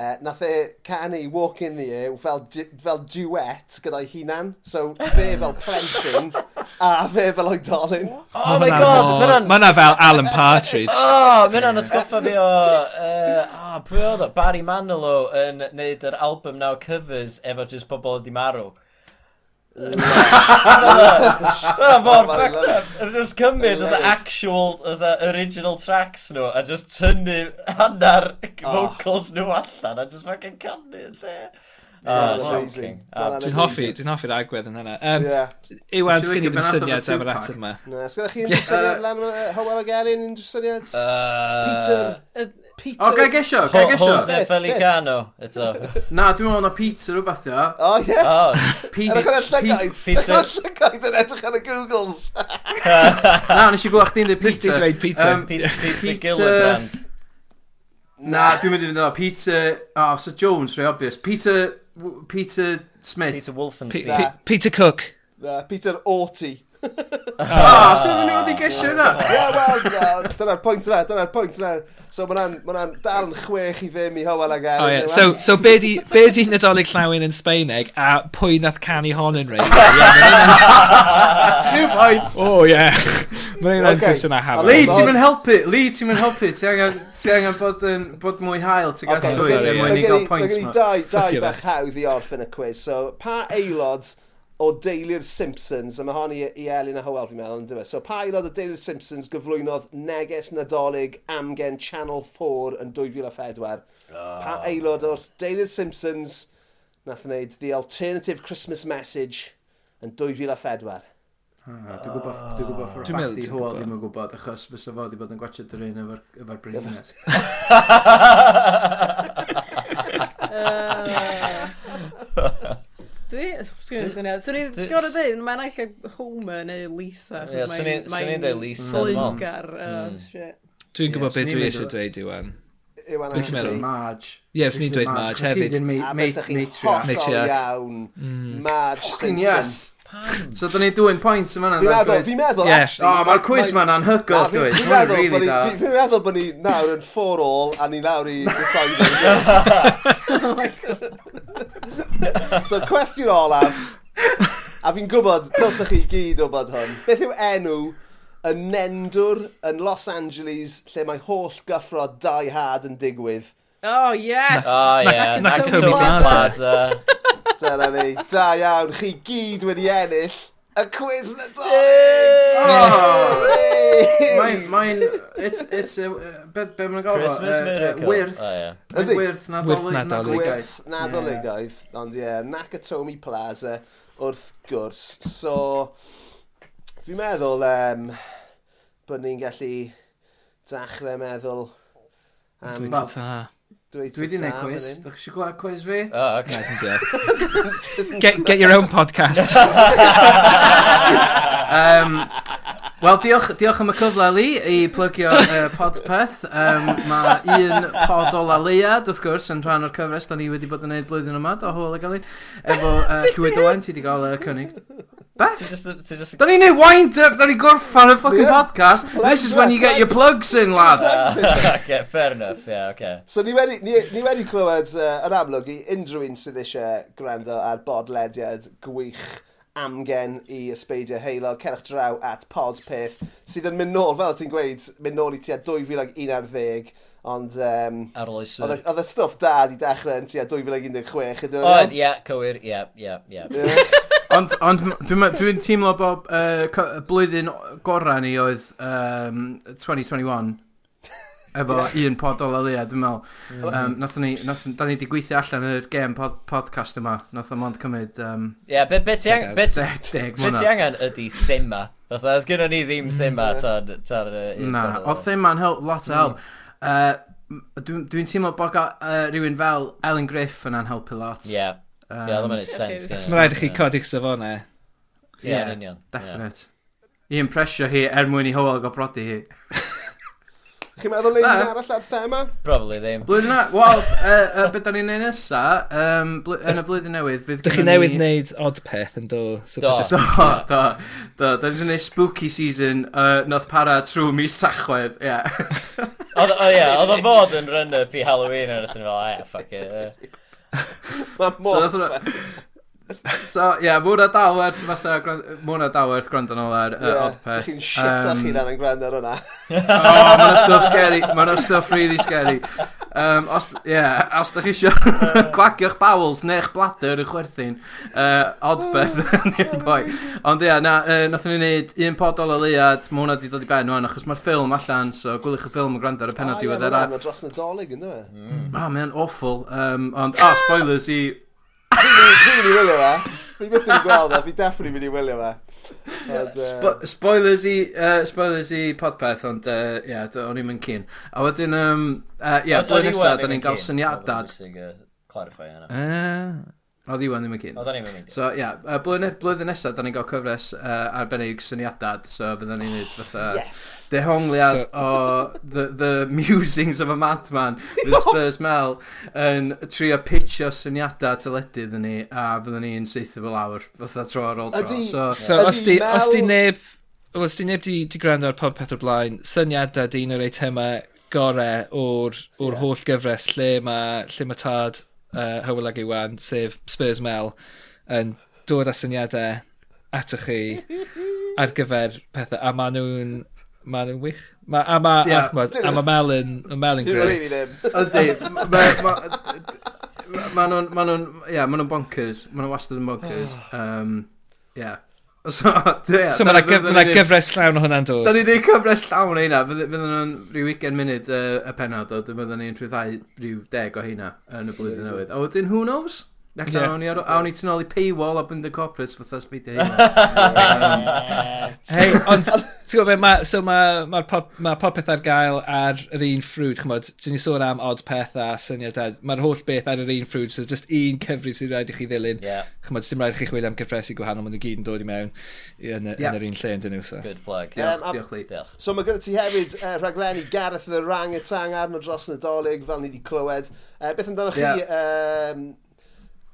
uh, nath e canu Walk in the Air fel, du- fel duet gyda'i hunan. So fe fel plentyn a fe fel oedolyn.
Oh my god, mae'n an...
Mae hwnna fel Alan Partridge.
Oh, mae'n an ysgoffa fi o... yy, ah, Pwy oedd o? Barry Manilow yn neud yr album now covers efo jyst pobl wedi marw. Mae'n mor
Barry
fucked
Manilow.
up. It's just cymryd as
Hilarious.
actual, as original tracks nhw, a just tynnu
Ah.
hanner vocals nhw allan, a just fucking canu yn lle. Ah,
Ma'n amazing.
shocking. Ah,
Ma'n
Dwi'n hoffi, dwi'n hoffi'r agwedd yn hynna. Um,
Ie.
Iwan,
Siŵr
sgen i
gyda
ddim
nath o
syniad
fo
am yr
Tupac.
ateb yma.
Na, Sgwela chi unrhyw syniad lan uh, Howell ag Elin, unrhyw syniad?
uh, Peter.
Peter.
Yy,
Peter.
Oh,
O, gai gesio, gai gesio.
Jose
Beth,
Felicano. Eto.
Na, dwi'n meddwl na Peter rhywbeth, ia.
O, ie.
Oh,
Edrych ar y
Peter...
llygaid. Edrych
Peter.
ar y llygaid yn edrych ar y Googles.
Na, nes i gwybod chdi'n dweud
Nes ti
Peter.
dweud Peter.
Yym,
Peter, Peter
Peter-
Gillibrand.
Na, dwi'n mynd i fynd yna. Peter... O, oh, so Jones, rei obvious. Peter... w- Peter Smith.
Peter
Pe-
Wolfenstein.
Pe- Peter Cook.
Na, Peter Orty.
O, oh, so dwi'n mynd i gesio yna.
Ie, wel, da- dyna'r pwynt yna, dyna'r pwynt yna. So mae'n ma hwnna'n dal yn chwech i ddim i Hywel ag Elin.
Oh, yeah.
yw e?
So, so be di, be di Nadolig Llawin yn Sbeineg a pwy nath canu hon yn reid? Yeah,
Two points.
oh, yeah. Mae'n un
Okay.
o'n cwestiwn a hafod.
Lee,
Well-
ti'n mynd helpu. Lee, ti'n mynd helpu. Ti angen, ti angen bod, yn, bod mwy hael. Ti'n
Okay,
gael
ma' gen
swydd
sorry,
i-
er
yeah.
ma'
mwyn i
gen i
gael
ma'
points
gen i
ma.
dau,
Fuck
dau
you,
bach hawdd i orffen y quiz. So, pa aelod o deulu'r Simpsons, a mae hon i, i Elin a Hywel fi'n meddwl, yn dweud. So, pa aelod o deulu'r Simpsons gyflwynodd neges nadolig amgen Channel 4 yn 2004? Pa aelod o'r deulu'r Simpsons nath wneud The Alternative Christmas Message yn 2004?
Ah, Dwi'n gwybod, dwi'n gwybod ffwrdd
Dwi'n meddwl
ffacti
ti'n
hwyl
gwbod.
ddim yn gwybod, achos fysa fo wedi bod yn gwachod yr un efo'r- efo'r brynnes.
Yy. Dwi... Swn i'n syniad. Swn i'n
Dwi-
gorau dweud, mae'n eitha Homer neu Lisa.
Ie, swn i- swn i'n deud Lisa, Mm. mom.
Blingar. oh, shit.
Dwi'n gwybod beth
Ie,
dwi
swn i'n
eisiau
meddwl-
dweud i wan.
Iwan
Dwi'n meddwl.
Anthony.
Marge.
Ie, fyswn i'n dweud Marge hefyd.
A bysach chi'n hollol
Matriarch.
iawn. Marge
Fucking
Simpson.
yes. So da ni doing points yma.
Fi'n meddwl, fi'n meddwl,
Ie.
actually...
O, mae'r Oh, quiz ma'n
Na,
anhygol,
fi-
llwyd.
Fi'n
Mae'n
meddwl bod
really
ni-
da.
fi- fi'n meddwl bod ni nawr yn for all a ni nawr i deciding.
Oh
so, cwestiwn olaf, a fi'n gwybod, dylsach chi gyd o bod hwn, beth yw enw y nendwr yn Los Angeles lle mae holl gyffro Die Hard yn digwydd?
Oh, yes!
Oh, yeah.
Nac-
Nac
Nac- Tony
Tony
Plaza.
Plaza.
Dyna ni, da iawn, chi gyd wedi ennill Y Oh, quiz nadolig!
Mae'n, mae'n, it's, it's, uh, be, be mae'n gofio?
Christmas
Uh, uh,
miracle.
Wyrth.
O, ie.
Ydi.
Wyrth
Wyrth nadolig.
Nadolig.
Gwyth nadolig oedd, ond ie, Nakatomi Plaza wrth gwrs. So, fi'n meddwl um, bod ni'n gallu dachrau meddwl am...
Dwi'n ta.
Dwi
Dwi di neud quiz. Dwi'n eisiau gwlad quiz fi?
O, oce.
Get, get your own podcast.
Um, Wel, diolch, diolch am y cyfle, Lee, i plygio uh, podpeth. Um, mae un pod o la leiad, wrth gwrs, yn rhan o'r cyfres, da ni wedi bod yn gwneud blwyddyn yma, do hwyl y galun. Efo uh, Llywyd Owen, ti wedi cael uh, cynnig. Be?
Ti just- ti just-
Da ni'n gwneud wind-up, da ni'n gorffan y fucking
Yeah.
podcast. This is when you get your plugs in, lad.
Oce, fair enough, ie, oce.
So ni wedi, ni, ni wedi clywed uh, yr amlwg i unrhyw un sydd eisiau gwrando ar bodlediad gwych amgen i ysbeidio heilo, cerwch draw at podpeth sydd yn mynd nôl, fel ti'n gweud, mynd nôl i tua 2011, ond um,
Arloeswyr.
oedd y- oedd y stwff da di dechrau yn tua 2016. ydyn nhw?
Oedd, ie, cywir, ie, ie, ie.
Ond, ond m- dwi'n me- dwi'n teimlo bod uh, co- y blwyddyn gorau ni oedd um, 2021 efo un pod o leia, dwi'n
Mm.
meddwl. Um, nathon ni, nathon, da ni wedi gweithio allan yr game pod, podcast yma. Nath o'n mond cymryd um,
Ie, be- be ti ang- be ti-
de- deg
be ti
mlynedd.
angen ydi thema. Fatha, oes gynnon ni ddim thema tan- tan, yy, un
Na,
diwrnod.
oedd ddim ma'n help, lot o help.
Mm.
Uh, m- Dwi'n dwi teimlo bod ga- yy, rhywun fel Ellen Griff yn helpu lot.
Ie. Ie, oedd o'n wneud sense,
Okay.
Mae'n rhaid i chi codi'ch safonau.
Ie, yn union, ie.
Definite. I impresio hi er mwyn i Howell gael brodi hi.
Chi'n meddwl neud
Na.
un arall ar thema?
Probably ddim.
Blwyddyn na, wel, uh, uh, beth da ni'n neud nesa, um, bl yn y blwyddyn newydd, fydd
Dych chi newydd neud odd peth yn do. So
Do.
pethau-
Do, do, do, da ni'n neud spooky season, uh, noth para trwy mis tachwedd, ie. Yeah.
Oedd o ie, oedd o fod yn run-up i Halloween yn ystod fel, "Ah, ie, fuck it. ie.
Mae mor
So nath
ffa-
so, ie, yeah, mwna dal werth, fatha, gwran- mwna dal werth gwrando nôl ar
Ie,
uh, Odpeth.
Chi'n shit o'ch chi'n yn gwrando ar hwnna.
Oh, mae'n stuff scary. Mae'n stuff really scary. Um, os, yeah, os da chi eisiau gwagio'ch bowels neu'ch bladder yn chwerthin, uh, odbeth
Oh.
nearby. Ond ia, na, uh, nathon ni wneud un pod o leiad, mae hwnna wedi dod i ben o'n achos mae'r ffilm allan, so gwylwch y ffilm yn gwrando ar y
Ah,
penod diwedd
era.
era.
Mae dros nadolig, ynddo fe?
Ah, mae'n awful. Um, ond, ah, spoilers i...
Dwi'n mynd i wylio fe. Fi byth yn gweld o, fi definitely mynd i wylio fe. Ond, yy,
Spo- Spoilers i, uh, spoilers i podpeth, ond, uh, ia, yeah, o'n i'n keen. A wedyn, um, uh, ia, yeah,
Oedd-
blwyddyn
oedd Iwan
nesaf, da
ddim yn
ni'n cael
keen.
syniadad.
Oedd o'n bwysig, yy, Clarify hynna.
Ah.
Oedd Iwan ddim yn keen.
Oedd o'n i'n mynd.
So, ie, yeah, uh, blwyddyn, blwyddyn nesaf, da ni'n gael cyfres uh, arbennig syniadad, so byddwn ni'n neud fatha...
Yes.
Dehongliad
So-
o the, the musings of a madman with Spurs Mel yn trio pitio syniadau teledydd yn ni a fyddwn ni'n seithio fel awr fatha tro ar ôl tro
Ydi.
so,
So
Ydi,
os di, os di
Mel-
neb... Wel, os di neb di, di gwrando ar popeth o'r blaen, syniadau di un o'r eitema gore o'r, or holl gyfres lle mae lle ma tad uh, Hywel ag Iwan, sef Spurs Mel, yn dod â syniadau atoch chi ar gyfer pethau, a maen nhw'n maen nhw'n wych. Ma, a ma,
Ie.
yeah. a ma Mel yn, ma Mel yn
Dwi'n rili
great.
ddim.
Ydi ma- ma- ma nhw'n ma nhw'n ie, ma nhw'n bonkers ma nhw'n wastad yn bonkers um, ie so, yeah,
So mae yna gyfres llawn o hwnna'n
Da
dod.
ni wedi cyfres llawn o heina, fydden nhw'n rhyw 20 munud uh, y penod, o dwi'n meddwl ni'n rhyddhau rhyw 10 o heina yn y blwyddyn newydd. A wedyn, who knows? Ac
Ie.
yeah. awn ni, ar- awn ni tu nôl i paywall a bynd y corpus fatha sbeidio heina.
Hei, ond, ti'n gwybod beth, ma, so mae'r ma pop, ma popeth ar gael ar yr un ffrwd, chymod, ti'n ni sôn am odd peth a syniadau, mae'r holl beth ar yr un ffrwd, so just un cyfrif sydd rhaid i chi ddilyn.
Ie.
Chymod, dim rhaid i chi chwilio am gyfresu gwahanol, maen nhw gyd yn dod i mewn i- yn, y-
Ie.
yn yr un lle yn dyn nhw. So.
Good plug.
Yym, a-
Diolch, Lee.
Diolch.
So mae gyda ti hefyd uh, rhaglenni Gareth yr Orangetang arno dros Nadolig fel ni wedi clywed. Uh, beth amdano chi,
Ie.
yeah. um,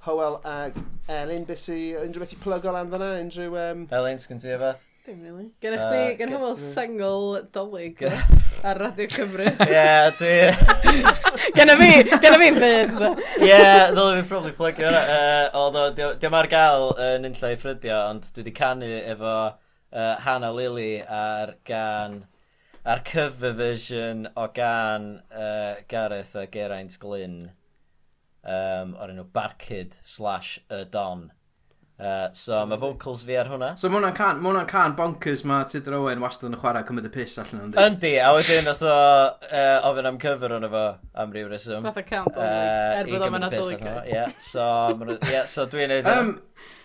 Howell ag Elin, beth sy, unrhyw beth i plygol am fyna? Unrhyw... Um,
Elin, sgyn ti efo?
Dim really. Gen i chdi,
Yy,
gen i
ge- mm.
fel sengl dolyg
Ge-
ar Radio Cymru.
Ie, dwi...
Gen i fi, gen i fi'n bydd.
Ie, ddylai fi probably plugio hwnna. Yy, Oedd o, dio- diom ar gael yy, yn unlla i ffrydio, ond dwi wedi canu efo yy, Hannah Lily ar gan... Ar cover version o gan uh, Gareth a Geraint Glyn um, o'r enw Barkid slash Y Don. Uh, so mae vocals fi ar hwnna.
So mae hwnna'n can, ma hwnna'n can bonkers mae Tudor Owen wastad yn chwarae cymryd y piss allan o'n
Yndi, a wedyn oedd o uh, ofyn am cyfer o'n efo am ryw reswm.
Fatha count on,
Yy,
er
i
bod o'n
gymryd
mynd
piss
adolyg.
allan o fo. Ie, so, ma' nhw- ie, so dwi'n neud
Um,
hwnna.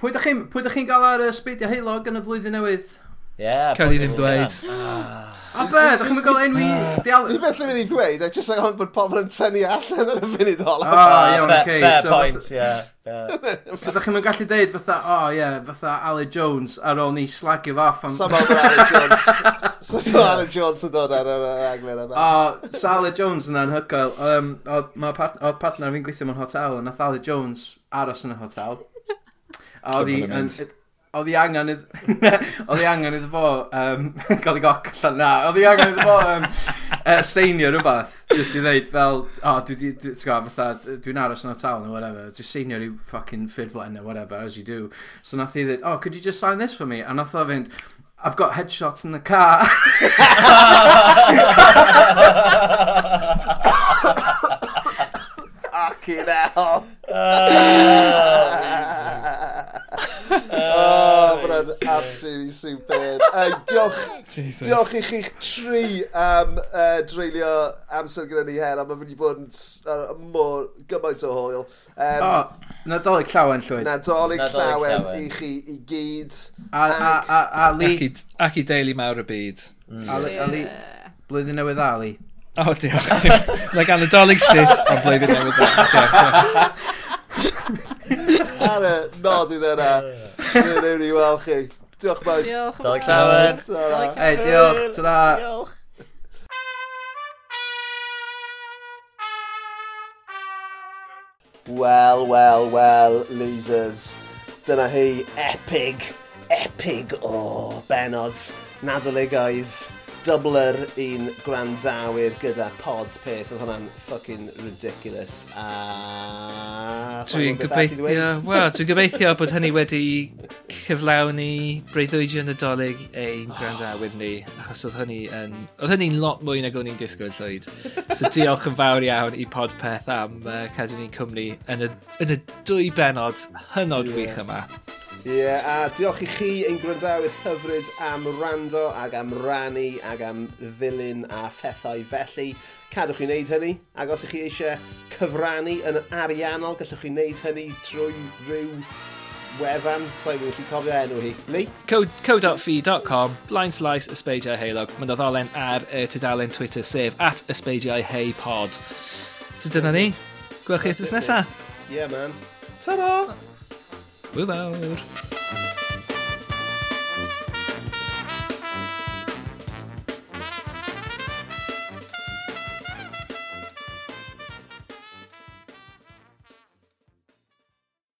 pwy ydych chi'n pwy ydych chi'n gael ar y Speidio Heilog yn y flwyddyn newydd?
Ie,
Cael i ddim
pobl
dweud.
fan.
A be, ydych chi'n gael enwi dial...
Ni beth yn mynd i ddweud, a jyst angen bod pobl yn tynnu allan yn y funud
O,
ola.
Ah,
iawn,
fair-
okay,
Fair
so-
point, ie.
So ydych chi'n gallu deud fatha, o oh, ie, yeah, fatha Ali Jones ar ôl ni slagio fo off am...
Sam oedd Alan Jones. Sam oedd Alan Jones yn dod ar yr yy, aglen yma.
O, so Ali Jones yna'n hygoel. Um, Oedd partner fi'n gweithio mewn hotel, yn nath Ali Jones aros yn y hotel. A Oedd hi
Cyfan
yn...
amount.
Oedd hi angen idd... Oedd hi angen iddo fo... Um, gael ei goc allan na. Oedd hi angen iddo fo... Um, uh, seinio rhywbeth. Just i ddeud fel... O, oh, dwi... dwi- Ti'n gwybod, fatha... Dwi'n aros yn y tal neu whatever. Just seinio rhyw fucking ffurflen neu whatever, as you do. So nath i ddeud, oh, could you just sign this for me? A nath o fynd... I've got headshots in the car.
Fucking hell. O, bron, Oh, absolutely superb. Ei, diolch,
Jesus.
diolch i chi'ch tri am uh, dreulio amser gyda ni her, a mae wedi bod yn s- uh, mor gymaint o hwyl. Um,
o, nadolig llawen llwyd.
Nadolig
Nadolig
llawen
llawen.
i chi i gyd.
A, a, a, a,
Ac
Ali,
i, ac i deulu mawr y byd.
Ali, Ali, blwyddyn newydd Ali.
O, oh, diolch. diolch. Like anadolig shit ond blwyddyn newydd dda. Diolch, diolch.
Ar y nodyn yna, dwi'n rhywun i weld chi. Diolch maes.
Diolch yn
Dal
fawr.
llawer.
Ta-ra.
Ei, diolch, ta-ra.
Diolch.
Wel, wel, wel, losers. Dyna hi, epig, epig o benod nadoligaidd dybler un gwrandawyr gyda pod peth. Oedd hwnna'n ffocin ridiculous. A...
Dwi'n gobeithio... Wel, dwi'n gobeithio bod hynny wedi cyflawni breuddwydio nadolig ein grandawyr ni. Achos oedd hynny yn... Oedd hynny'n lot mwy nag o'n i'n disgwyl llwyd. So diolch yn fawr iawn i podpeth am uh, cadw ni'n cwmni yn y, yn y dwy benod hynod yeah. wych yma.
Ie, yeah, a diolch i chi ein gwrandawyr hyfryd am rando ag am rannu ag am ddilyn a phethau felly. Cadwch chi wneud hynny, ac os ych chi eisiau cyfrannu yn ariannol, gallwch chi wneud hynny trwy rhyw wefan, sa'i wedi chi cofio enw hi. Ni?
Co- co.fi.com blind slice ysbeidiau heilog mae'n ddolen ar y tudalen Twitter sef at ysbeidiau hei pod so dyna ni gwelch chi eithaf nesaf
Yeah, man. Ta-ra!
Wyl fawr